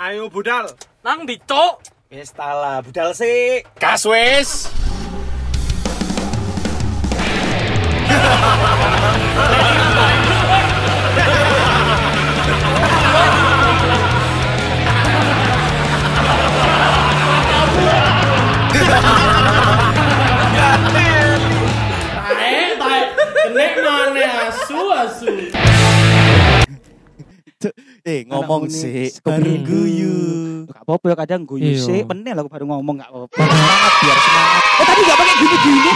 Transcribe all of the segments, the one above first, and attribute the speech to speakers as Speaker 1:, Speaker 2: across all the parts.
Speaker 1: Ayo budal.
Speaker 2: Nang ndi, Cuk?
Speaker 3: Wis tala, budal sik.
Speaker 4: Gas wis.
Speaker 5: Tae, tae. Kenek mana asu asu.
Speaker 3: Eh, ngomong
Speaker 6: Anak
Speaker 3: sik.
Speaker 6: unik, baru
Speaker 5: Hmm.
Speaker 6: guyu.
Speaker 3: Gak apa-apa ya kadang guyu
Speaker 5: Iya.
Speaker 3: sik, pening lah aku baru ngomong gak apa-apa. Semangat biar semangat. Eh, tapi gak pakai gini-gini.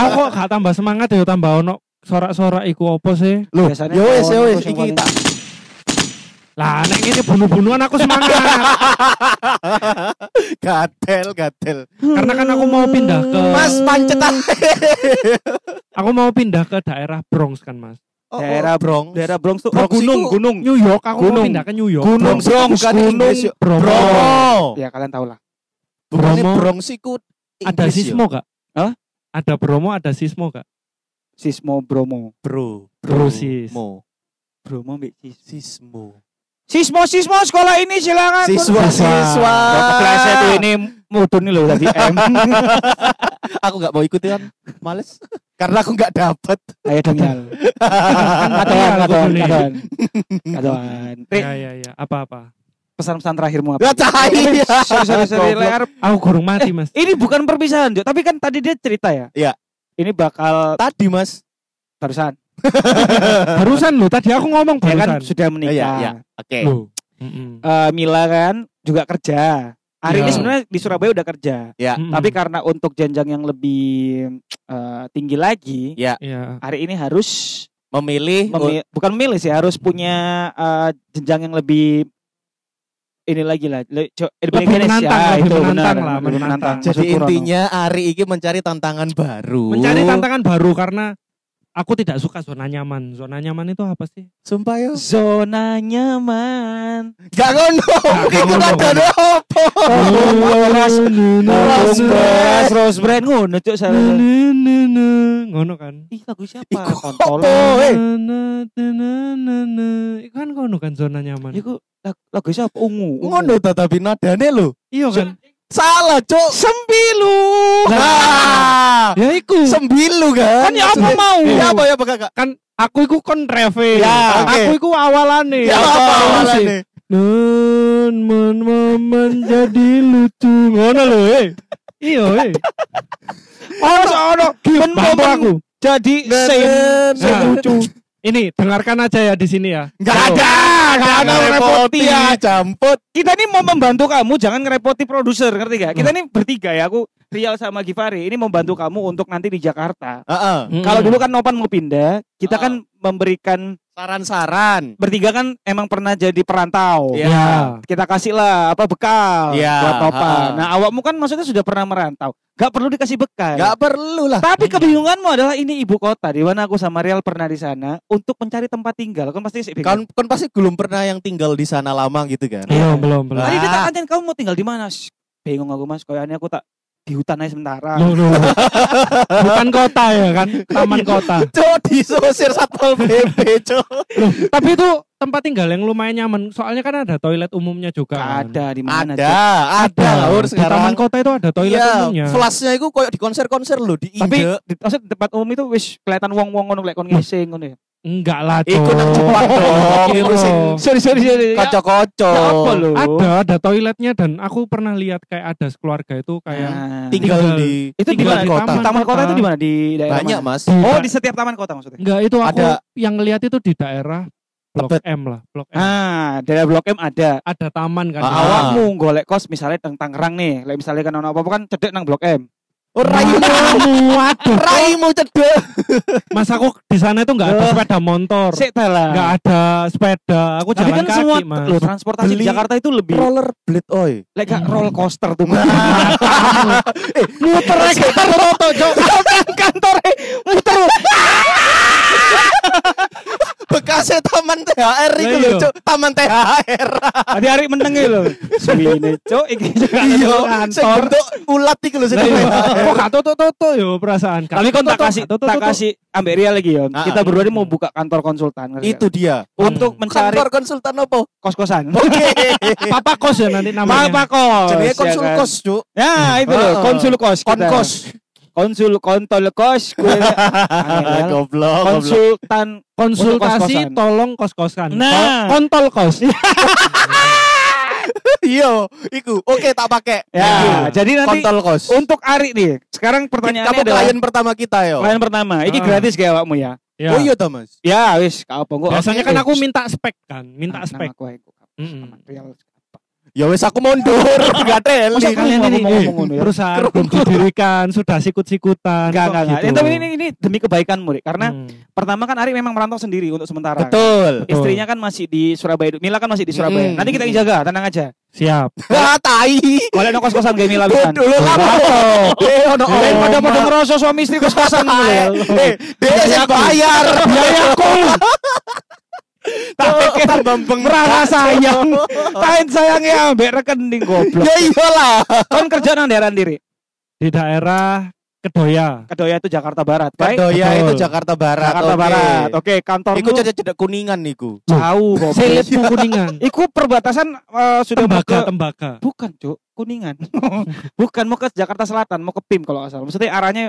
Speaker 5: Aku kok gak tambah semangat ya tambah ono sorak-sorak iku opo sih?
Speaker 3: Loh,
Speaker 6: ya wis, ya wis, iki tak-
Speaker 5: Lah nek ngene bunuh-bunuhan aku semangat.
Speaker 6: Gatel, gatel.
Speaker 3: Eh,
Speaker 5: Karena kan aku mau pindah ke
Speaker 6: Mas pancetan.
Speaker 5: aku mau pindah ke daerah Bronx kan, Mas.
Speaker 6: Oh, oh,
Speaker 3: Daerah-
Speaker 6: Bronx.
Speaker 3: daerah Bronx tuh oh,
Speaker 6: Bronx
Speaker 3: gunung,
Speaker 6: itu-
Speaker 3: gunung.
Speaker 5: New York, aku mau
Speaker 3: Gunung.
Speaker 5: pindah ke New York.
Speaker 6: Gunung
Speaker 5: Bronx.
Speaker 6: Bronx, kan,
Speaker 3: bukan
Speaker 6: Gunung
Speaker 3: Inggris, yuk.
Speaker 5: Bromo.
Speaker 6: Bromo.
Speaker 3: Ya kalian tahu lah.
Speaker 6: Bukannya
Speaker 5: Bromo.
Speaker 6: Bronx iku
Speaker 5: Ada
Speaker 6: Inggris, yuk.
Speaker 5: sismo gak?
Speaker 3: Hah?
Speaker 5: Ada Bromo, ada sismo gak?
Speaker 3: Sismo Bromo.
Speaker 6: Bro.
Speaker 5: Bro, sis.
Speaker 6: Mo.
Speaker 3: Bromo mbek Sismo.
Speaker 6: Sismo.
Speaker 3: Sismo sismo sekolah ini silakan.
Speaker 6: Siswa, siswa.
Speaker 3: Kepleset tuh ini mudun nih loh tadi M.
Speaker 6: aku nggak mau ikutan males karena aku nggak dapat
Speaker 3: Ayo Daniel.
Speaker 5: Iya,
Speaker 3: Katoan,
Speaker 5: aku
Speaker 3: katoan,
Speaker 5: boleh.
Speaker 3: katoan. Katoan.
Speaker 6: Eh.
Speaker 3: Rik,
Speaker 5: Ya ya ya, apa-apa.
Speaker 3: pesan-pesan terakhirmu apa?
Speaker 6: ya cahaya
Speaker 3: Sorry, sorry, sorry, Ler.
Speaker 5: Aku kurung mati, Mas.
Speaker 3: Ini bukan perpisahan, Jok. Tapi kan tadi dia cerita ya.
Speaker 6: Iya.
Speaker 3: Ini bakal
Speaker 6: tadi mas
Speaker 3: barusan.
Speaker 5: Barusan lo tadi aku ngomong
Speaker 3: Dia kan
Speaker 5: barusan.
Speaker 3: sudah
Speaker 6: ya
Speaker 3: menikah.
Speaker 6: ya ya. oke
Speaker 5: Loh. Mm-mm.
Speaker 3: Eh, Mila kan juga kerja. Ari
Speaker 5: Iya.
Speaker 3: ini sebenarnya di Surabaya udah kerja.
Speaker 5: Mm-mm.
Speaker 6: kan
Speaker 3: Tapi karena untuk jenjang yang lebih eh, tinggi lagi,
Speaker 5: Iya.
Speaker 3: Ari ini harus
Speaker 6: memilih
Speaker 3: memi- bukan milih sih, harus punya eh, jenjang yang lebih ini lagi lah. Le- co- eh,
Speaker 5: Lebih
Speaker 3: Indonesia,
Speaker 5: menantang,
Speaker 3: ya,
Speaker 5: lebih
Speaker 3: itu
Speaker 5: menantang
Speaker 3: benar,
Speaker 5: lah,
Speaker 3: lebih
Speaker 5: menantang.
Speaker 6: jadi
Speaker 3: Maksud Purwono.
Speaker 6: intinya Ari ini mencari tantangan baru
Speaker 5: Mencari tantangan baru karena aku tidak suka zona nyaman. Zona nyaman itu apa sih?
Speaker 6: sumpah yo
Speaker 3: zona nyaman.
Speaker 6: gak ngono itu
Speaker 5: ngono.
Speaker 6: ada apa oh,
Speaker 3: Ros Ros
Speaker 6: Rosbrand.
Speaker 3: Brand, Ros Brand ngono Oh, cuk saya.
Speaker 5: Hmm. Ngono kan?
Speaker 3: Ih lagu siapa?
Speaker 6: Iku
Speaker 3: Kontol.
Speaker 6: apa, oh. eh?
Speaker 5: Na, na, na, na, na. Iku kan ngono kan zona nyaman.
Speaker 3: Iku Ya, lag- lagu siapa? Ungu. ungu.
Speaker 6: ngono tetapi nadane lo
Speaker 5: Iya kan?
Speaker 6: salah cok sembilu nah
Speaker 5: Ya iku.
Speaker 6: sembilu kan
Speaker 5: Kan ya apa mau?
Speaker 6: ya apa ya apa kakak
Speaker 5: Kan aku iku kon reve.
Speaker 6: Ya, oke.
Speaker 5: aku iku awalane.
Speaker 6: ya apa
Speaker 5: Aku sih.
Speaker 6: awalane?
Speaker 5: Nun men men menjadi lucu ngono lho eh. Iya eh.
Speaker 3: Oh, sono. Ben
Speaker 5: Bambu
Speaker 3: momen
Speaker 5: aku.
Speaker 3: Jadi sing sing
Speaker 5: Nah.
Speaker 3: lucu.
Speaker 5: Ini dengarkan aja ya di sini ya.
Speaker 6: Gak ada,
Speaker 5: nah,
Speaker 6: gak ada
Speaker 3: Ngerepoti.
Speaker 6: repoti ya, jamput.
Speaker 3: Kita ini mau membantu kamu, jangan ngerepoti produser, ngerti gak?
Speaker 5: Hmm.
Speaker 3: Kita ini bertiga ya, aku Rial sama Givari ini membantu kamu untuk nanti di Jakarta.
Speaker 6: Heeh.
Speaker 3: Kalau dulu kan Nopan mau pindah, kita
Speaker 6: Hmm. Ah.
Speaker 3: kan memberikan
Speaker 6: Saran-saran.
Speaker 3: bertiga kan emang pernah jadi perantau.
Speaker 6: Iya.
Speaker 5: ya.
Speaker 3: kita kasih lah apa bekal
Speaker 6: Iya,
Speaker 3: buat Topan.
Speaker 6: ha-ha.
Speaker 3: Nah awakmu kan maksudnya sudah pernah merantau, nggak perlu dikasih bekal.
Speaker 6: Gak perlu lah.
Speaker 3: Tapi kebingunganmu adalah ini ibu kota di mana aku sama Rial pernah di sana untuk mencari tempat tinggal. Kan pasti sih
Speaker 5: Iya.
Speaker 6: Kan,
Speaker 3: bingung.
Speaker 6: kan pasti belum pernah yang tinggal di sana lama gitu kan.
Speaker 5: Belum Iya, belum belum.
Speaker 3: Tadi dia
Speaker 6: Ah.
Speaker 3: tak tanyain, kamu mau tinggal di mana? Shh, Bingung aku mas, kayaknya aku tak di hutan aja sementara.
Speaker 5: Loh, loh, loh. Bukan kota ya kan, taman kota.
Speaker 6: Cok disusir satpol PP cok.
Speaker 5: Tapi itu tempat tinggal yang lumayan nyaman. Soalnya kan ada toilet umumnya juga.
Speaker 3: Gak
Speaker 5: kan.
Speaker 3: ada di mana?
Speaker 6: Ada, ada lah Ur,
Speaker 5: Di
Speaker 6: sekarang.
Speaker 5: taman kota itu ada toilet
Speaker 6: Iya,
Speaker 5: umumnya.
Speaker 6: flashnya itu kayak di konser-konser loh di
Speaker 3: Tapi
Speaker 6: Inde.
Speaker 3: di, maksud di tempat umum itu wis kelihatan wong-wong ngono lek kon ngising ngono ya.
Speaker 5: Enggak lah.
Speaker 6: Ikut nang
Speaker 5: Cok.
Speaker 6: Jepang dong.
Speaker 5: Iya.
Speaker 6: Itu Oh. sing
Speaker 3: Sorry sorry sorry. Ya,
Speaker 6: kocok-kocok.
Speaker 3: ya apa lo?
Speaker 5: Ada, ada toiletnya dan aku pernah lihat kayak ada sekeluarga itu
Speaker 6: Ah.
Speaker 5: kayak
Speaker 3: Nah,
Speaker 6: Tinggal
Speaker 5: Tinggal.
Speaker 6: di
Speaker 3: itu di
Speaker 5: tinggal
Speaker 3: mana?
Speaker 5: di
Speaker 3: Di
Speaker 6: taman
Speaker 3: taman kota
Speaker 5: kota.
Speaker 3: itu di mana? Di daerah
Speaker 6: banyak
Speaker 3: mana?
Speaker 6: mas.
Speaker 3: Oh, di setiap taman kota maksudnya.
Speaker 5: enggak itu aku
Speaker 6: Ada-
Speaker 5: yang lihat itu di daerah Blok
Speaker 6: Tebet.
Speaker 5: M lah, Blok M.
Speaker 3: Ah, daerah Blok M ada.
Speaker 5: Ada taman kan.
Speaker 6: Ah.
Speaker 3: Awakmu golek kos misalnya teng Tangerang nih. Lek misalnya kan ono apa-apa kan cedek nang Blok M.
Speaker 6: Oh, raimu,
Speaker 5: Kamu, waduh.
Speaker 6: raimu cedek.
Speaker 5: Mas aku di sana itu enggak ada sepeda motor.
Speaker 3: Sik
Speaker 5: Enggak
Speaker 3: lah.
Speaker 5: ada sepeda. Aku
Speaker 3: Tapi
Speaker 5: jalan
Speaker 3: kan
Speaker 5: kaki,
Speaker 3: semua
Speaker 5: Mas.
Speaker 3: loh, transportasi
Speaker 6: Beli-
Speaker 3: di Jakarta itu lebih
Speaker 6: Roller blade oi.
Speaker 3: lek gak roller coaster tuh.
Speaker 6: Muter aja
Speaker 3: Toto Jok. Sampean kantore muter.
Speaker 6: Bekasnya taman THR itu loh,
Speaker 5: Lah iya.
Speaker 6: Cuk. Taman THR.
Speaker 3: Tadi hari menengi loh. Suwine cok iki
Speaker 6: Iya, sing
Speaker 3: kantor.
Speaker 6: bentuk ulat iki lho sing
Speaker 5: Lah iya.
Speaker 6: THR.
Speaker 5: Kok gak toto-toto yo perasaan. Gak
Speaker 3: Tapi kon tak
Speaker 5: toto-toto,
Speaker 3: kasih
Speaker 5: gak
Speaker 3: tak
Speaker 5: toto-toto.
Speaker 3: kasih ambek Ria lagi ya.
Speaker 6: Ah.
Speaker 3: Kita berdua ini mau buka kantor konsultan ngerti
Speaker 6: Itu dia.
Speaker 3: gak? untuk mencari
Speaker 6: Kantor konsultan apa?
Speaker 3: kos-kosan.
Speaker 6: Oke.
Speaker 5: Papa kos ya nanti namanya.
Speaker 3: Apa kos?
Speaker 6: Jenenge
Speaker 3: ya
Speaker 6: konsul
Speaker 3: kan?
Speaker 6: kos, Cuk.
Speaker 3: Ya itu loh,
Speaker 6: Heeh.
Speaker 3: konsul kos. kita.
Speaker 6: Konkos.
Speaker 3: Konsul kontol kos. kue- Angel.
Speaker 6: Goblok, goblok.
Speaker 3: Konsultan
Speaker 5: Konsultasi
Speaker 3: Untuk kos-kosan.
Speaker 5: tolong kos-kosan.
Speaker 3: Nah.
Speaker 5: Kon- Kontol kos.
Speaker 6: Iya, iku. Oke, tak pakai.
Speaker 3: Ya,
Speaker 5: Iya.
Speaker 3: jadi nanti
Speaker 6: Kontol kos.
Speaker 3: untuk Ari nih. Sekarang pertanyaannya
Speaker 6: Kamu
Speaker 3: adalah
Speaker 6: klien pertama kita, yo.
Speaker 3: klien pertama. Ini
Speaker 5: Ah.
Speaker 3: gratis kayak awakmu ya.
Speaker 5: Ya.
Speaker 6: Oh iya, Thomas.
Speaker 3: Ya wis, gak apa kok.
Speaker 5: Biasanya
Speaker 6: oke.
Speaker 5: kan aku minta spek kan, minta
Speaker 3: Nah,
Speaker 5: spek.
Speaker 3: Aku aku
Speaker 5: Mm-mm.
Speaker 3: real.
Speaker 6: Ya wes aku mundur, gak teli.
Speaker 3: Masa kalian ini
Speaker 5: ngomong-
Speaker 3: eh,
Speaker 5: ngomong-
Speaker 3: terus
Speaker 5: Perusahaan belum didirikan, sudah
Speaker 3: enggak
Speaker 5: sikut-sikutan. kok
Speaker 3: enggak enggak.
Speaker 5: gitu.
Speaker 3: Eh, Tapi ini ini demi kebaikanmu, Rik. Karena
Speaker 5: Hmm.
Speaker 3: pertama kan Ari memang merantau sendiri untuk sementara.
Speaker 6: Betul.
Speaker 5: Betul.
Speaker 3: Istrinya kan masih di Surabaya. Mila kan masih di Surabaya.
Speaker 6: Mm.
Speaker 3: Nanti kita yang jaga, tenang aja.
Speaker 5: siap.
Speaker 6: Ah, tai.
Speaker 3: Golek nang kos-kosan gak Mila pisan.
Speaker 6: Dulu lama. Eh, ono
Speaker 3: Lain
Speaker 6: ono.
Speaker 3: pada-pada ngerasa suami istri kos-kosan ya, lho.
Speaker 6: Eh, dia yang bayar.
Speaker 3: Biaya aku.
Speaker 6: Tapi kita bambeng
Speaker 3: Merasa sayang. Tain sayangnya ambek rekening goblok.
Speaker 6: Ya iyalah.
Speaker 3: Kon kerja nang daerah diri.
Speaker 5: Di daerah Kedoya.
Speaker 3: Kedoya itu Jakarta Barat. Baik.
Speaker 6: Kedoya
Speaker 5: Betul.
Speaker 6: ya, itu Jakarta Barat.
Speaker 3: Jakarta
Speaker 6: oke.
Speaker 3: Barat. Oke, kantor
Speaker 6: Iku cedek cedek kuningan niku.
Speaker 3: jauh goblok.
Speaker 5: Selip Kuningan.
Speaker 3: Iku perbatasan eh, sudah mau
Speaker 5: tembaga,
Speaker 3: ke
Speaker 5: tembaga.
Speaker 3: bukan cuk kuningan bukan mau ke Jakarta Selatan mau ke PIM kalau nggak salah maksudnya arahnya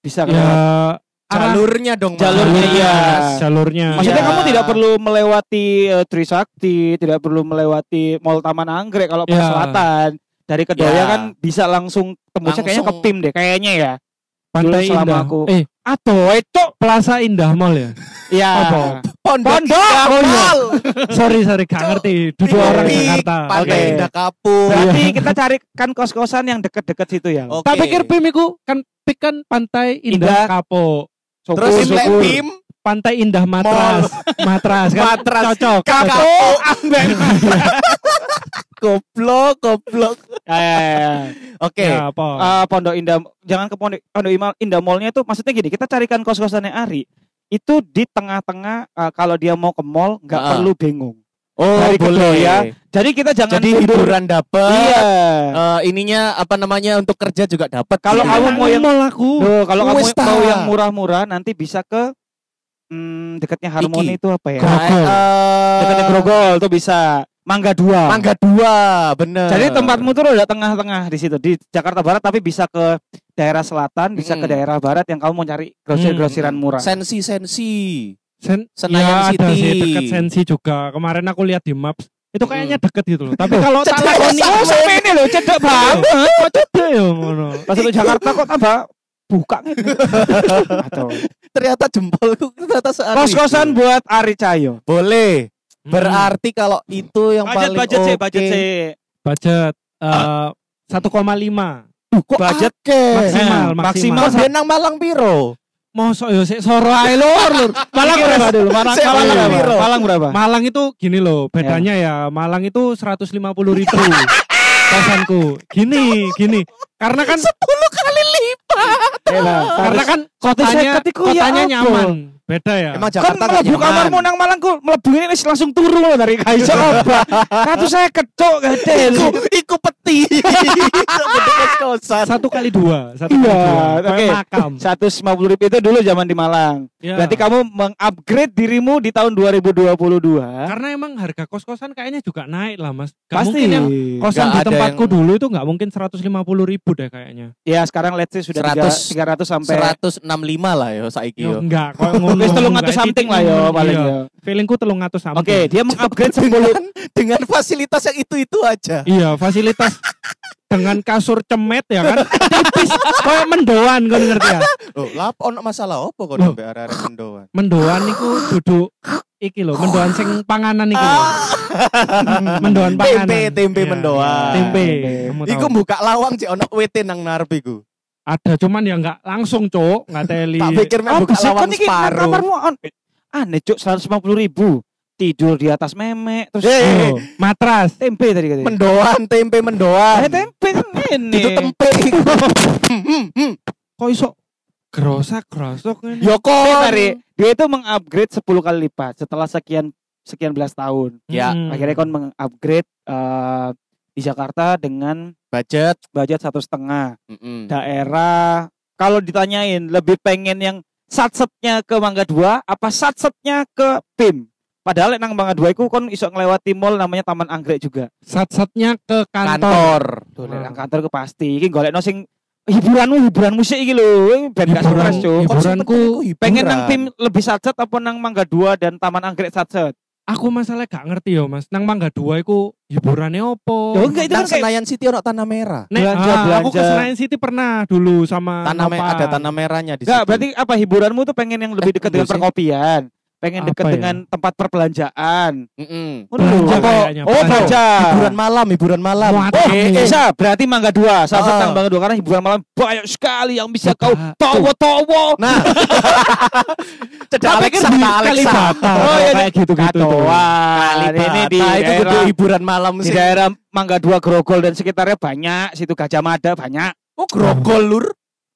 Speaker 3: bisa
Speaker 5: Ya,
Speaker 3: kan
Speaker 5: arah-
Speaker 6: Jalurnya dong. Mas.
Speaker 3: Jalurnya, iya.
Speaker 5: Jalurnya.
Speaker 3: maksudnya
Speaker 6: Iya.
Speaker 3: kamu tidak perlu melewati eh, Trisakti tidak perlu melewati Mall Taman Anggrek kalau ke
Speaker 5: Ya.
Speaker 3: selatan dari Kedoya
Speaker 6: Ya.
Speaker 3: kan bisa langsung tembusnya kayaknya ke
Speaker 6: Langsung.
Speaker 3: PIM deh kayaknya ya Dulu
Speaker 5: Pantai
Speaker 3: selama
Speaker 5: Indah.
Speaker 3: aku-
Speaker 5: Eh,
Speaker 3: atau itu
Speaker 5: Plaza Indah Mall ya.
Speaker 3: ya
Speaker 5: Apa?
Speaker 6: Pondok.
Speaker 3: Pondok.
Speaker 6: Indah
Speaker 5: Oh, iya.
Speaker 6: Kapal.
Speaker 5: Sorry, sorry, gak
Speaker 6: Cuk,
Speaker 5: ngerti. Dua orang
Speaker 6: Ngerti.
Speaker 5: Jakarta.
Speaker 6: Pantai
Speaker 3: Oke.
Speaker 6: Indah Kapur.
Speaker 3: berarti
Speaker 5: Iya.
Speaker 3: kita cari kan kos-kosan yang deket-deket situ ya
Speaker 6: Oke.
Speaker 5: Tak pikir PIM iku kan PIM kan Pantai
Speaker 3: Indah.
Speaker 5: Indah, Kapo.
Speaker 3: Syukur,
Speaker 6: Terus
Speaker 5: Syukur,
Speaker 6: Imlek
Speaker 5: syukur.
Speaker 6: Pim,
Speaker 5: Pantai Indah Matras. Matras kan
Speaker 6: Matras.
Speaker 5: cocok. cocok.
Speaker 6: Kakao, goblok, goblok.
Speaker 3: Ya, ya, ya.
Speaker 6: Oke.
Speaker 5: Ya, apa?
Speaker 3: Eh, Pondok Indah jangan ke Pondok Pondok Ima- Indah Mallnya itu maksudnya gini kita carikan kos kosannya Ari itu di tengah-tengah eh, kalau dia mau ke mall nggak
Speaker 6: Ah.
Speaker 3: perlu bingung
Speaker 6: Oh,
Speaker 3: Dari
Speaker 6: boleh
Speaker 3: Kedoya. jadi kita jangan
Speaker 6: Jadi
Speaker 3: mundur.
Speaker 6: hiburan dapat.
Speaker 3: ya. iya
Speaker 6: Eh, ininya apa namanya untuk kerja juga gitu ya. dapat.
Speaker 3: Kalau
Speaker 5: Iya,
Speaker 3: kamu mau yang-
Speaker 5: mall aku.
Speaker 3: Duh, kalau kamu
Speaker 6: Wis ta.
Speaker 3: mau yang murah-murah nanti bisa ke hmm, dekatnya Harmoni
Speaker 6: Iki.
Speaker 3: itu apa ya
Speaker 5: Grogol.
Speaker 3: dekatnya Grogol tuh bisa Mangga Dua
Speaker 6: Mangga dua, bener.
Speaker 3: jadi tempatmu tuh udah tengah-tengah di situ di Jakarta Barat tapi bisa ke daerah selatan bisa ke
Speaker 6: Mm.
Speaker 3: daerah barat yang kamu mau cari grosir-grosiran
Speaker 6: Hmm.
Speaker 3: murah
Speaker 6: sensi sensi.
Speaker 5: Sen
Speaker 6: Senayan
Speaker 5: ya,
Speaker 6: City.
Speaker 5: ada sih deket Sensi juga. Kemarin aku lihat di maps. Itu kayaknya
Speaker 3: Hmm.
Speaker 5: deket gitu loh. Tapi kalau tak
Speaker 6: Cedek
Speaker 5: lakoni
Speaker 6: sama.
Speaker 3: Oh, sampai ini loh cedek banget.
Speaker 5: kok cedek ya ngono.
Speaker 3: Pas itu Jakarta kok tambah buka gitu. Atau
Speaker 6: Ternyata jempolku ternyata searah.
Speaker 3: kos-kosan buat Ari Cahyo.
Speaker 6: boleh.
Speaker 5: Hmm.
Speaker 6: Berarti kalau itu yang paling oke.
Speaker 5: budget
Speaker 3: Ah.
Speaker 5: eh, 1,5.
Speaker 6: Duh, kok
Speaker 3: Budget
Speaker 6: akeh?
Speaker 5: maksimal,
Speaker 3: Eh,
Speaker 5: Nah, maksimal.
Speaker 6: Kok benang Malang piro?
Speaker 5: Mosok yo sik soro ae lur, lur.
Speaker 3: Malang
Speaker 5: Iki
Speaker 3: berapa
Speaker 5: wes-
Speaker 3: dulu? Malang,
Speaker 6: Saya
Speaker 3: Malang
Speaker 6: Malang
Speaker 3: berapa?
Speaker 6: Biro.
Speaker 3: Malang berapa?
Speaker 5: Malang itu gini loh, bedanya ya. Malang itu 150 ribu. kosanku. Gini, gini. Karena kan
Speaker 6: 10 kali lipat.
Speaker 5: karena kan kotanya
Speaker 3: seket iku ya
Speaker 5: kotanya
Speaker 3: apa?
Speaker 5: nyaman. Beda ya.
Speaker 6: Emang
Speaker 3: Kan
Speaker 6: Jakarta gak
Speaker 3: melebu
Speaker 6: nyaman?
Speaker 3: kamarmu nang Malang ku melebu ini wis langsung turu loh dari Kaiso apa? Katu saya ketok gedel.
Speaker 6: Iku, iku peti. Bentuk kos-kosan.
Speaker 5: satu kali dua, satu
Speaker 3: Iya,
Speaker 5: kali dua. Kayak
Speaker 3: oke.
Speaker 5: makam.
Speaker 3: 150 ribu itu dulu zaman di Malang.
Speaker 5: Ya.
Speaker 3: Berarti kan- kamu mengupgrade dirimu di tahun 2022.
Speaker 5: karena emang harga kos-kosan kayaknya juga naik lah, Mas. Gak
Speaker 3: Pasti.
Speaker 5: mungkin yang kosan
Speaker 6: Nggak
Speaker 5: di
Speaker 6: ada
Speaker 5: tempatku
Speaker 6: yang-
Speaker 5: dulu itu nggak mungkin 150 ribu deh kayaknya.
Speaker 3: Ya sekarang let's say sudah
Speaker 6: 100.
Speaker 3: 300 sampai
Speaker 6: 165 lah ya saiki
Speaker 5: Yo,
Speaker 6: yo.
Speaker 5: enggak, kok ngono.
Speaker 3: Iya. Wis telung
Speaker 5: Enggak,
Speaker 3: atus something
Speaker 5: titik
Speaker 3: lah yo
Speaker 5: ngono,
Speaker 3: paling
Speaker 5: iya.
Speaker 3: yo.
Speaker 5: Feelingku telung atus something.
Speaker 3: Oke, dia mengupgrade sepuluh.
Speaker 6: Dengan, dengan fasilitas yang itu-itu aja.
Speaker 5: Iya, fasilitas dengan kasur cemet ya kan. Tipis kayak mendoan kan ngerti ya.
Speaker 6: Oh, lap ono masalah opo kok
Speaker 5: Loh.
Speaker 6: sampai arek-arek mendoan?
Speaker 5: Mendoan niku duduk iki loh, mendoan sing panganan iku. lho. mendoan panganan.
Speaker 6: Tempe, tempe
Speaker 5: Iya,
Speaker 6: mendoan.
Speaker 5: Tempe. Kamu
Speaker 6: Iku
Speaker 5: tahu.
Speaker 6: buka lawang cek ono WT nang ngarep iku.
Speaker 5: Ada cuman ya enggak langsung, Cuk, enggak teli.
Speaker 6: Tak pikir mek buka lawang
Speaker 3: iki nang
Speaker 6: separuh.
Speaker 3: kamarmu on. Aneh cuk 150 ribu tidur di atas memek terus
Speaker 6: Eh, eh,
Speaker 5: Oh, matras.
Speaker 3: tempe tadi katanya.
Speaker 6: Mendoan, tempe mendoan.
Speaker 3: Eh tempe kan ini.
Speaker 6: Itu tempe. iku. Hmm, hmm, hmm.
Speaker 5: Kok iso Gerosak kerosok ini.
Speaker 6: Yoko.
Speaker 3: Mari, dia itu mengupgrade 10 kali lipat setelah sekian sekian belas tahun.
Speaker 6: Ya,
Speaker 5: Hmm.
Speaker 3: Akhirnya kon mengupgrade eh, di Jakarta dengan
Speaker 6: budget. Hmm,
Speaker 3: budget satu setengah.
Speaker 6: Mm-mm.
Speaker 3: Daerah kalau ditanyain lebih pengen yang satsetnya ke Mangga Dua apa satsetnya ke PIM? Padahal nang Mangga Dua itu kon iso ngelewati mall namanya Taman Anggrek juga.
Speaker 5: sat-satnya ke kantor.
Speaker 6: Kantor.
Speaker 3: Tuh,
Speaker 5: Hmm.
Speaker 3: nang kantor ke pasti. Iki golekno sing hiburanmu hiburan musik iki lho, ben gak stres, Cuk.
Speaker 6: Kon
Speaker 5: hiburanku
Speaker 6: sempet iku hiburan.
Speaker 3: Pengen nang PIM lebih satset apa nang Mangga Dua dan Taman Anggrek satset?
Speaker 5: Aku masalah gak ngerti yo Mas. Nang Mangga Dua iku hiburannya opo?
Speaker 3: Yo enggak itu
Speaker 6: Nang
Speaker 3: kan kayak
Speaker 6: Senayan City ono tanah merah.
Speaker 5: Nek,
Speaker 3: Belanja,
Speaker 5: ah, aku ke
Speaker 3: belanja.
Speaker 5: Senayan City pernah dulu sama
Speaker 6: Tanah me-
Speaker 5: Nopan.
Speaker 6: ada tanah merahnya di
Speaker 3: Enggak,
Speaker 6: situ.
Speaker 3: Ah, berarti apa hiburanmu tuh pengen yang lebih dekat
Speaker 6: Eh,
Speaker 3: dengan
Speaker 6: iya sih.
Speaker 3: perkopian, pengen
Speaker 5: Apa
Speaker 3: dekat
Speaker 5: ya?
Speaker 3: dengan tempat perbelanjaan.
Speaker 6: Mm-mm.
Speaker 3: Oh,
Speaker 5: Belanja
Speaker 3: apa?
Speaker 5: kayaknya,
Speaker 3: Oh,
Speaker 5: belanja.
Speaker 3: belanja.
Speaker 6: Hiburan malam, hiburan malam.
Speaker 5: Muat.
Speaker 3: Oh,
Speaker 5: Eh,
Speaker 3: bisa. Berarti Mangga Dua, salah satu
Speaker 6: Ah.
Speaker 3: Mangga Dua karena hiburan malam banyak sekali yang bisa kau
Speaker 5: Coba.
Speaker 3: towo-towo.
Speaker 6: Nah. Cedak
Speaker 3: Tapi
Speaker 6: Alexa,
Speaker 3: kan di
Speaker 6: Kak Alexa.
Speaker 5: Kalibata,
Speaker 3: Oh, iya,
Speaker 5: kayak gitu-gitu. tuh.
Speaker 3: Kacauan. Ini di
Speaker 6: Nah, itu gede
Speaker 3: daerah,
Speaker 6: hiburan malam
Speaker 3: di
Speaker 6: sih.
Speaker 3: daerah Mangga Dua Grogol dan sekitarnya banyak, situ Gajah Mada banyak.
Speaker 6: Oh, grogol lur.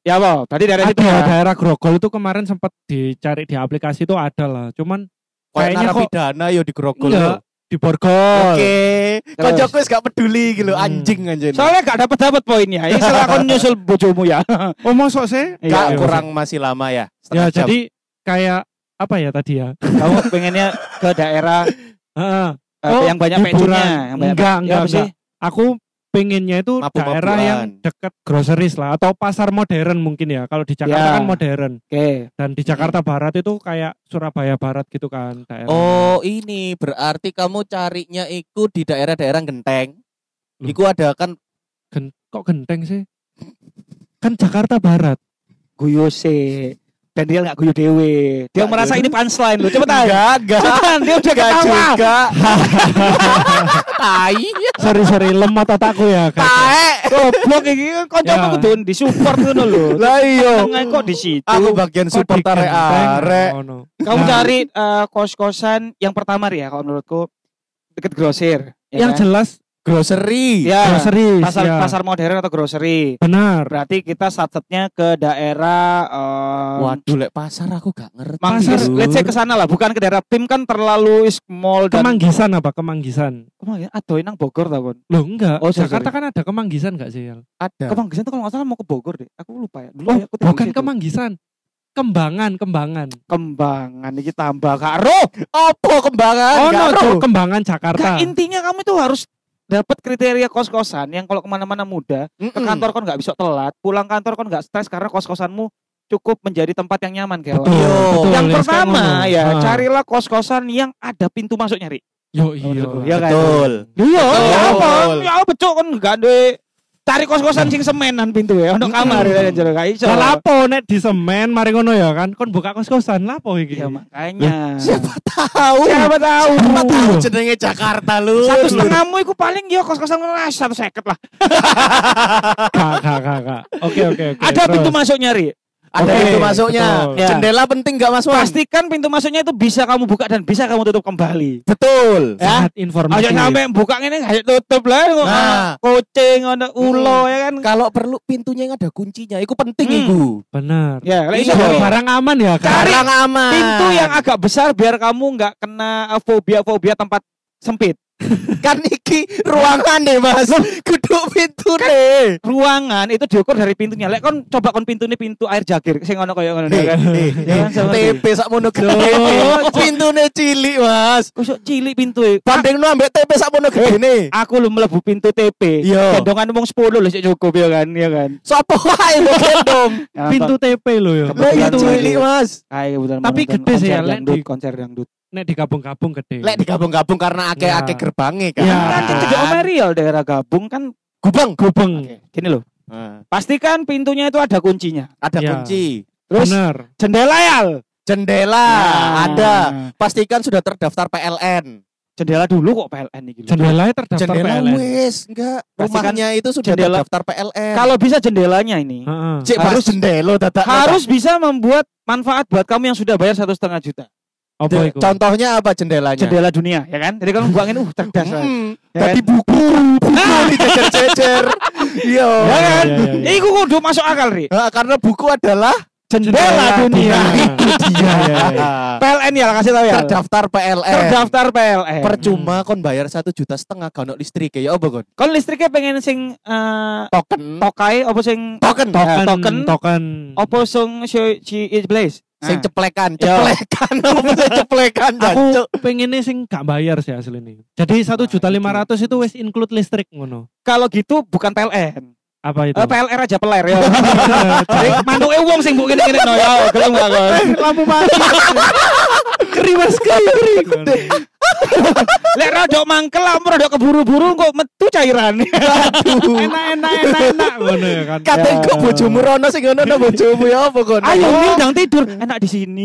Speaker 3: Ya, Bo. Berarti daerah
Speaker 5: Ada
Speaker 3: situ ya.
Speaker 5: daerah Grogol itu kemarin sempat dicari di aplikasi itu ada lah. Cuman
Speaker 6: Kayak
Speaker 5: Kayaknya kok-
Speaker 6: narapidana yo di grogol.
Speaker 5: Enggak.
Speaker 6: lur.
Speaker 5: di Borgol.
Speaker 6: Oke.
Speaker 3: Iya. Terus.
Speaker 6: Kocokku wis gak peduli gitu
Speaker 5: Hmm.
Speaker 6: anjing anjing.
Speaker 3: Soalnya gak dapat dapat poinnya. Ini setelah kau nyusul bojomu ya.
Speaker 5: Oh, mosok sih?
Speaker 3: Iya,
Speaker 6: Gak
Speaker 3: iya.
Speaker 6: kurang masih lama ya.
Speaker 5: Ya,
Speaker 6: setengah jam.
Speaker 5: jadi kayak apa ya tadi ya?
Speaker 3: Kamu pengennya ke daerah
Speaker 5: Heeh.
Speaker 3: eh,
Speaker 5: Oh,
Speaker 3: yang banyak
Speaker 5: hiburan.
Speaker 3: pecunya, yang banyak
Speaker 5: Enggak,
Speaker 3: Ya,
Speaker 5: enggak,
Speaker 3: apa sih?
Speaker 5: enggak. Aku pengennya itu
Speaker 6: Mabuk-mabukan.
Speaker 5: daerah yang dekat groceries lah atau pasar modern mungkin ya. Kalau di Jakarta
Speaker 3: Ya.
Speaker 5: kan modern
Speaker 3: Oke.
Speaker 5: dan di Jakarta Barat itu kayak Surabaya Barat gitu kan daerah.
Speaker 6: Oh ini berarti kamu carinya itu di daerah-daerah genteng.
Speaker 5: Loh.
Speaker 6: Iku ada kan
Speaker 5: Gen- kok genteng sih? Kan Jakarta Barat.
Speaker 3: guyu sih dan dia nggak guyu dewe dia
Speaker 6: Nggak
Speaker 3: merasa
Speaker 6: guyu.
Speaker 3: ini punchline loh cepetan
Speaker 6: enggak,
Speaker 3: cepetan dia udah
Speaker 6: enggak
Speaker 3: ketawa
Speaker 6: juga. Tai,
Speaker 5: Sorry sorry lemah otakku ya. Kak.
Speaker 6: tae.
Speaker 3: goblok ini kocok
Speaker 5: Ya.
Speaker 3: aku dun di support dulu loh
Speaker 6: Lah iya.
Speaker 3: Tengah kok di situ
Speaker 6: Aku bagian
Speaker 5: Kok
Speaker 6: support
Speaker 5: di genteng?
Speaker 6: arek-arek.
Speaker 5: Oh, no.
Speaker 3: kamu
Speaker 5: Nah.
Speaker 3: cari eh, kos-kosan yang pertama ya kalau menurutku deket grosir ya
Speaker 5: Yang
Speaker 3: kan?
Speaker 5: jelas
Speaker 6: Grocery.
Speaker 3: ya
Speaker 5: groceries
Speaker 3: pasar
Speaker 5: ya.
Speaker 3: pasar modern atau grocery
Speaker 5: benar.
Speaker 3: berarti kita satsetnya ke daerah em,
Speaker 6: Waduh, lek pasar aku gak ngerti.
Speaker 3: Manggis,
Speaker 5: pasar.
Speaker 3: let's say ke sana lah, bukan ke daerah Pim kan terlalu is- mall dan
Speaker 5: Kemanggisan apa? Kemanggisan.
Speaker 3: Kemanggisan, aduh ya, nang Bogor tau kon.
Speaker 5: Loh enggak.
Speaker 3: Oh, sorry,
Speaker 5: Jakarta
Speaker 3: sorry.
Speaker 5: kan ada Kemanggisan enggak sih? Yal?
Speaker 6: ada.
Speaker 3: Kemanggisan tuh kalau nggak salah mau ke Bogor deh. Aku lupa ya. Dulu
Speaker 5: Oh,
Speaker 3: aku tinggal di
Speaker 5: bukan
Speaker 3: situ.
Speaker 5: Kemanggisan. Kembangan, Kembangan.
Speaker 3: Kembangan iki tambah karo.
Speaker 6: Opo
Speaker 3: Eh,
Speaker 6: kembangan?
Speaker 5: Oh,
Speaker 6: Gak
Speaker 5: no, Cuk,
Speaker 6: roh.
Speaker 5: Kembangan
Speaker 3: Gak
Speaker 5: Jakarta.
Speaker 3: intinya kamu itu harus dapat kriteria kos-kosan yang kalau kemana-mana mudah. Ke
Speaker 5: Hmm.
Speaker 6: Mm-mm.
Speaker 3: kantor kon nggak bisa telat, pulang kantor kon nggak stres karena kos-kosanmu cukup menjadi tempat yang nyaman kayak
Speaker 5: Betul,
Speaker 6: Yo.
Speaker 5: betul,
Speaker 3: Yang
Speaker 5: Yal, sekarang
Speaker 3: pertama
Speaker 5: ngono.
Speaker 3: ya,
Speaker 5: Ah.
Speaker 3: carilah kos-kosan yang ada pintu masuk nyari.
Speaker 5: Yo iya.
Speaker 6: Ya,
Speaker 3: Iya kan?
Speaker 6: Betul.
Speaker 3: Iya, ya apa?
Speaker 6: Betul.
Speaker 3: Ya apa cuk kon gak duwe cari kos-kosan sing semenan pintu ya untuk kamar ya jero gak iso.
Speaker 5: Lah lapo nek di semen mari ngono ya kan kon buka kos-kosan lapo iki.
Speaker 3: Ya makanya.
Speaker 6: Siapa tahu?
Speaker 3: Siapa tahu?
Speaker 6: Siapa tahu
Speaker 5: Lur.
Speaker 6: jenenge Jakarta lu.
Speaker 3: satu setengahmu itu paling ya kos-kosan ngelas satu seket lah
Speaker 5: Kak kak kak. kak. Oke oke oke.
Speaker 3: ada
Speaker 5: Iya, terus.
Speaker 3: pintu masuk nyari
Speaker 6: Ada
Speaker 5: Oke,
Speaker 6: pintu masuknya.
Speaker 5: betul.
Speaker 3: Ya.
Speaker 6: Jendela penting gak Mas Wan?
Speaker 3: pastikan pintu masuknya itu bisa kamu buka dan bisa kamu tutup kembali
Speaker 6: Betul.
Speaker 3: ya
Speaker 5: Sangat informatif.
Speaker 3: aja sampai buka ini aja tutup lah kok
Speaker 6: Nah.
Speaker 3: ana kucing ada ulo ya kan
Speaker 6: Kalau perlu pintunya yang ada kuncinya, itu penting
Speaker 3: Hmm.
Speaker 6: iku.
Speaker 5: Benar.
Speaker 3: ya lah
Speaker 5: Iya,
Speaker 3: iso tapi
Speaker 5: barang aman ya kan.
Speaker 3: Cari
Speaker 6: Barang aman.
Speaker 3: pintu yang agak besar biar kamu nggak kena fobia fobia tempat sempit
Speaker 6: kan iki ruangan deh Mas. Kudu pintu deh.
Speaker 3: ruangan itu diukur dari pintunya lek kon coba kon pintunya pintu air jagir sing ngono koyo ngono ya
Speaker 6: Iya,
Speaker 3: kan Ya kan, sama
Speaker 6: TP sak mono gede.
Speaker 3: Loh.
Speaker 6: Pintune cilik, Mas.
Speaker 3: Kok sok cilik pintu e.
Speaker 6: Bandingno ambek TP sak mono gedene.
Speaker 3: aku lu mlebu pintu TP.
Speaker 6: Iya.
Speaker 3: Gendongan wong 10 lho sik cukup ya kan, ya kan.
Speaker 6: Sopo wae lo gendong.
Speaker 3: Ya,
Speaker 5: Pintu TP lo
Speaker 6: Lek
Speaker 5: ya.
Speaker 3: Kebetulan
Speaker 6: itu
Speaker 3: sekali.
Speaker 6: cilik, iya, Mas.
Speaker 3: Kayak kebetulan
Speaker 5: Tapi
Speaker 3: menonton
Speaker 5: gede sih ya,
Speaker 3: konser
Speaker 5: Lek,
Speaker 3: dangdut,
Speaker 5: di-
Speaker 3: konser dangdut.
Speaker 5: Nek digabung-gabung gede.
Speaker 6: Lek digabung-gabung karena akeh-akeh
Speaker 5: Ya.
Speaker 6: gerbangnya kan.
Speaker 5: Ya.
Speaker 3: Kan kan cedek Omerial daerah gabung kan
Speaker 6: Gubeng.
Speaker 5: gubeng.
Speaker 3: gini loh. Pastikan pintunya itu ada kuncinya.
Speaker 6: Ada
Speaker 5: Ya.
Speaker 6: kunci.
Speaker 3: Terus
Speaker 5: Benar.
Speaker 3: jendela ya.
Speaker 6: Jendela
Speaker 5: Ah.
Speaker 6: ada. Pastikan sudah terdaftar PLN.
Speaker 3: Jendela dulu kok PLN iki. lho.
Speaker 5: Jendelanya terdaftar
Speaker 6: Jendela
Speaker 5: PLN.
Speaker 6: wis enggak.
Speaker 3: Pastikan
Speaker 6: Rumahnya itu sudah
Speaker 3: jendela-
Speaker 6: terdaftar PLN.
Speaker 3: Kalau bisa jendelanya ini
Speaker 5: Heeh.
Speaker 6: Cek harus
Speaker 3: harus-
Speaker 6: jendela dadak.
Speaker 3: harus bisa membuat manfaat buat kamu yang sudah bayar satu setengah juta.
Speaker 5: Apa
Speaker 6: dadak.
Speaker 5: iku?
Speaker 6: contohnya apa jendelanya?
Speaker 5: Iya.
Speaker 3: Jendela dunia, ya kan? Jadi kamu buangin uh cerdas.
Speaker 5: Hmm.
Speaker 3: lah.
Speaker 6: Mm,
Speaker 3: Ya
Speaker 6: Tadi buku, buku dicecer-cecer. Iya.
Speaker 3: Ya kan?
Speaker 5: Iya, iya, iya.
Speaker 3: Iku kudu masuk akal, Ri.
Speaker 6: Nah, karena buku adalah
Speaker 3: jendela
Speaker 5: Iya,
Speaker 3: dunia.
Speaker 5: Itu dia. ya.
Speaker 6: Ah.
Speaker 3: PLN ya kasih tahu ya.
Speaker 6: Terdaftar
Speaker 5: Eh,
Speaker 6: PLN.
Speaker 3: Terdaftar Eh. PLN.
Speaker 6: Percuma
Speaker 3: Hmm.
Speaker 6: kon bayar satu juta setengah kau listrik ya apa kon?
Speaker 3: Kon listriknya pengen sing eh,
Speaker 6: Token.
Speaker 3: tokai apa sing
Speaker 6: Token.
Speaker 3: Eh,
Speaker 5: Token,
Speaker 3: token.
Speaker 5: token,
Speaker 3: apa sing si- si it place.
Speaker 6: Ya,
Speaker 5: Eh.
Speaker 6: Sing
Speaker 3: Ah.
Speaker 6: ceplekan,
Speaker 3: Yo.
Speaker 6: ceplekan, apa sih ceplekan
Speaker 5: Aku
Speaker 6: jancuk?
Speaker 5: pengennya sing gak bayar sih hasil ini. Jadi satu juta lima ratus itu wes include listrik ngono.
Speaker 3: Kalau gitu bukan PLN.
Speaker 5: Apa itu?
Speaker 3: Eh, PLR aja peler ya. Jadi mantuke wong sing mbok ngene-ngene no ya. Gelem gak kon?
Speaker 5: Eh, Lampu mati. Keri mas keri.
Speaker 3: Lek rodok mangkel lampu rodok keburu-buru kok metu cairan.
Speaker 5: Enak enak enak enak ngono ya kan.
Speaker 6: Katanya kok bojomu rono sing ngono no bojomu ya apa kon?
Speaker 3: Ayo Min jangan tidur.
Speaker 5: Eh.
Speaker 3: Enak di sini.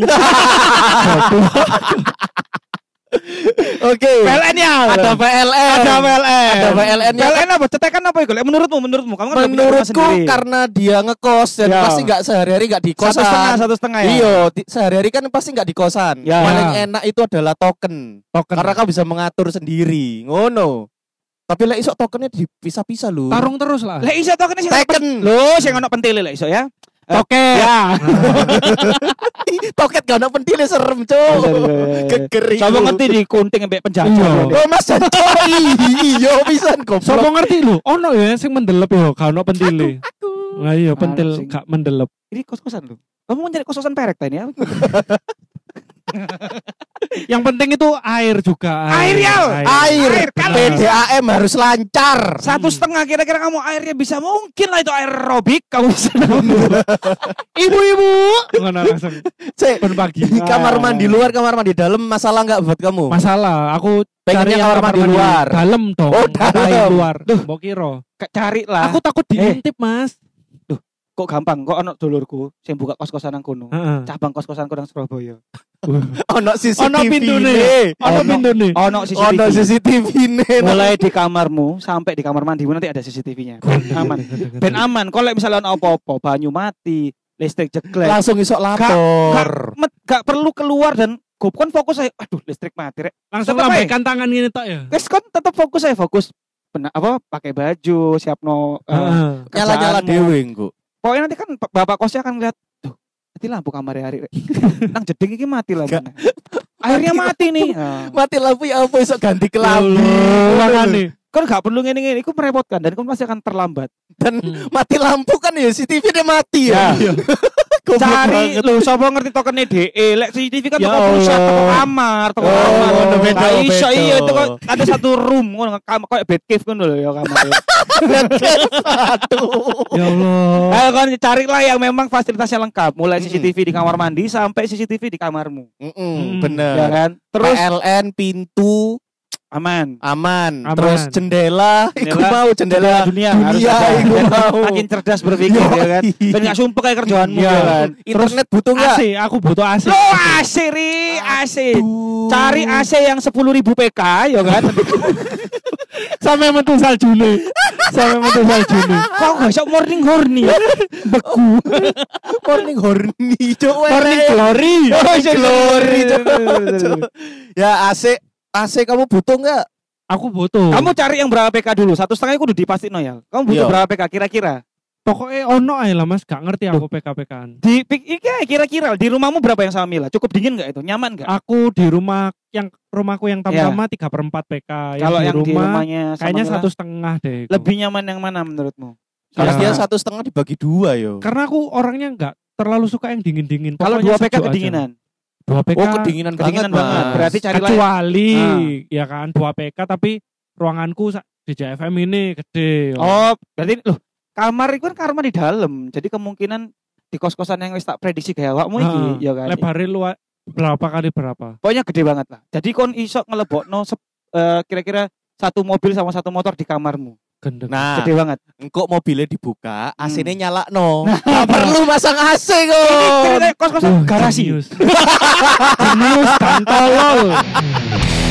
Speaker 6: Oke.
Speaker 3: PLN ya.
Speaker 6: Ada PLN.
Speaker 3: ada PLN.
Speaker 6: Ada PLN -nya.
Speaker 3: PLN apa? Cetekan apa iku? Lek menurutmu menurutmu kamu kan udah punya rumah
Speaker 6: Menurutku
Speaker 3: sendiri.
Speaker 6: karena dia ngekos dan
Speaker 3: Ya.
Speaker 6: pasti nggak sehari-hari nggak di kan?
Speaker 3: satu setengah
Speaker 6: kosan.
Speaker 3: satu setengah ya.
Speaker 6: Iya, di- sehari-hari kan pasti nggak di kosan.
Speaker 3: Ya.
Speaker 6: Paling enak itu adalah token.
Speaker 5: Token.
Speaker 6: Karena kau bisa mengatur sendiri. Ngono. Tapi lah isok tokennya dipisah-pisah lu.
Speaker 5: tarung terus lah.
Speaker 3: Lek iso token sing
Speaker 6: Teken.
Speaker 3: Lho, sing ono pentile lek iso ya.
Speaker 5: Toket.
Speaker 3: Ya.
Speaker 6: Toket gak ada pentilnya serem,
Speaker 3: Iya,
Speaker 6: cok. Gegeri.
Speaker 3: Coba ngerti di kunting mbek
Speaker 5: Iya.
Speaker 3: penjajah.
Speaker 6: Oh, Mas Jancok. Iya, pisan
Speaker 5: Sopo
Speaker 6: goblok.
Speaker 5: ngerti lu? Ono ya sing mendelep yo, gak ono pentile. Lah iya
Speaker 3: Arep
Speaker 5: pentil
Speaker 3: sing-
Speaker 5: gak mendelep.
Speaker 3: Ini kos-kosan lu. Kamu mau nyari kos-kosan perek tadi ya?
Speaker 5: Yang penting itu air juga.
Speaker 3: Air, Yal. Air,
Speaker 6: Air.
Speaker 3: kan?
Speaker 6: PDAM harus lancar.
Speaker 3: Satu
Speaker 5: Hmm.
Speaker 3: setengah kira-kira kamu airnya bisa mungkin lah itu air robik kamu bisa nemu. Ibu-ibu.
Speaker 5: Ngono langsung.
Speaker 6: Cek.
Speaker 5: Pun pagi.
Speaker 6: Di kamar mandi luar, kamar mandi dalam masalah nggak buat kamu?
Speaker 5: Masalah, aku
Speaker 6: Pengennya
Speaker 5: yang Kan?
Speaker 6: kamar mandi luar.
Speaker 5: Dalam dong.
Speaker 6: Oh,
Speaker 5: ngapain
Speaker 6: dalam.
Speaker 5: luar. Duh, mau kira.
Speaker 3: Cari lah.
Speaker 5: Aku takut diintip, Mas.
Speaker 3: kok gampang kok ono dulurku sing buka kos-kosan nang kono.
Speaker 5: Heeh.
Speaker 3: Cabang kos-kosanku nang Surabaya.
Speaker 6: Ono CCTV.
Speaker 5: Ono pintune. Ono
Speaker 3: Ono-
Speaker 5: pintune.
Speaker 3: Ono
Speaker 6: Ono
Speaker 3: CCTV.
Speaker 6: CCTV ne.
Speaker 3: Mulai di kamarmu sampai di kamar mandimu nanti ada CCTV-nya. aman. Ben aman. Kalau misalnya ono apa-apa, banyu mati, listrik jeglek,
Speaker 6: langsung isok lapor.
Speaker 3: met, gak perlu keluar dan gue kan fokus saya aduh listrik mati rek
Speaker 5: Langsung
Speaker 3: Tetep,
Speaker 5: lambaikan tangan gini tok ya.
Speaker 3: guys kan tetap fokus saya fokus Bena, apa pakai baju siap no eh,
Speaker 5: Heeh.
Speaker 6: Nyala-nyala
Speaker 3: kerjaanmu.
Speaker 6: dewe engko.
Speaker 3: pokoknya nanti kan b- bapak kosnya akan ngeliat tuh nanti lampu kamar hari rek nang jeding ini mati lah
Speaker 6: Gak.
Speaker 3: Bena. akhirnya mati nih Nah,
Speaker 6: Mati lampu ya apa isok ganti
Speaker 5: Lho,
Speaker 6: kelambi.
Speaker 5: makane.
Speaker 3: kan gak perlu ngene ngene itu merepotkan dan kan pasti akan terlambat
Speaker 6: Dan
Speaker 3: Hmm.
Speaker 6: mati lampu kan ya CCTV dia mati ya.
Speaker 5: Iya.
Speaker 6: Goblok
Speaker 3: cari
Speaker 6: banget.
Speaker 3: lu sopo ngerti tokennya DE lek CCTV kan
Speaker 6: Ya
Speaker 3: toko pusat
Speaker 6: Allah.
Speaker 3: toko kamar toko
Speaker 6: Oh,
Speaker 3: kamar
Speaker 6: ngono, beda,
Speaker 3: Gak iso,
Speaker 6: beda.
Speaker 3: iya itu kok ada satu room ngono kamar kayak bed cave ngono lho ya kamar
Speaker 6: satu.
Speaker 5: Ya Allah.
Speaker 3: Ayo kan carilah yang memang fasilitasnya lengkap, mulai CCTV di kamar mandi sampai CCTV di kamarmu,
Speaker 6: Mm-mm,
Speaker 5: Hmm.
Speaker 6: Bener.
Speaker 3: ya kan? Terus
Speaker 6: PLN pintu
Speaker 3: aman.
Speaker 6: aman,
Speaker 5: Aman.
Speaker 6: terus jendela, iku
Speaker 3: Jendela-
Speaker 6: mau jendela,
Speaker 3: dunia, harus
Speaker 6: dunia,
Speaker 3: ada.
Speaker 6: iku
Speaker 3: Dan
Speaker 6: mau.
Speaker 3: Makin cerdas berpikir ya kan. Ben gak sumpah kayak kerjaanmu
Speaker 5: Iya.
Speaker 3: ya kan.
Speaker 6: Internet butuh nggak?
Speaker 5: AC, aku butuh AC.
Speaker 3: Lo AC ri, AC. Cari
Speaker 6: Aduh.
Speaker 3: AC yang 10.000 PK ya kan.
Speaker 5: Sampai metu saljune. Sampai metu saljune.
Speaker 3: Kok gak iso morning horny ya?
Speaker 6: Morning horny cok
Speaker 5: Morning
Speaker 6: weh.
Speaker 5: glory.
Speaker 6: Morning glory cok Cok. Ya AC AC kamu butuh nggak?
Speaker 5: Aku butuh.
Speaker 3: Kamu cari yang berapa PK dulu? Satu setengah kudu dipastiin no ya. Kamu butuh
Speaker 6: Iya.
Speaker 3: berapa PK kira-kira?
Speaker 5: pokoknya ono ae lah Mas, gak ngerti aku PKPK-an.
Speaker 3: Di pik- iya, kira-kira di rumahmu berapa yang sama Mila? Cukup dingin gak itu? Nyaman gak?
Speaker 5: Aku di rumah yang rumahku yang pertama tiga per empat
Speaker 3: Iya.
Speaker 5: PK.
Speaker 3: Kalau yang di rumahnya sama
Speaker 5: iya, kayaknya
Speaker 3: Mila?
Speaker 5: satu setengah deh. itu.
Speaker 3: lebih nyaman yang mana menurutmu?
Speaker 6: Karena
Speaker 3: Iya.
Speaker 5: Ya.
Speaker 6: dia satu setengah dibagi dua yo.
Speaker 3: Kan
Speaker 5: Karena aku orangnya nggak terlalu suka yang dingin dingin.
Speaker 3: Kalau dua PK kedinginan,
Speaker 5: Dua PK
Speaker 6: Oh kedinginan,
Speaker 3: kedinginan
Speaker 6: banget,
Speaker 3: banget.
Speaker 6: Mas.
Speaker 3: Berarti carilah
Speaker 5: kecuali
Speaker 3: Ah.
Speaker 5: ya kan dua PK tapi ruanganku sa- di JFM ini gede.
Speaker 3: oh berarti loh kamar itu kan kamar di dalam, jadi kemungkinan di kos-kosan yang wis tak prediksi kayak awakmu iki,
Speaker 5: Ah,
Speaker 3: ya kan.
Speaker 5: Lebarnya luas berapa kali berapa?
Speaker 3: Pokoknya gede banget lah. Jadi kon iso ngelebokno sep- eh, kira-kira satu mobil sama satu motor di kamarmu.
Speaker 5: Gendeng.
Speaker 6: Nah,
Speaker 3: Gede banget.
Speaker 6: engkau mobilnya dibuka,
Speaker 3: Hmm.
Speaker 6: AC-nya
Speaker 3: Nah,
Speaker 6: nyala no. Nggak perlu masang AC kok.
Speaker 5: Oh. Uh,
Speaker 3: Ceritanya kos-kosan
Speaker 5: Duh,
Speaker 3: garasi.
Speaker 5: Jenius. Jenius kan tolol.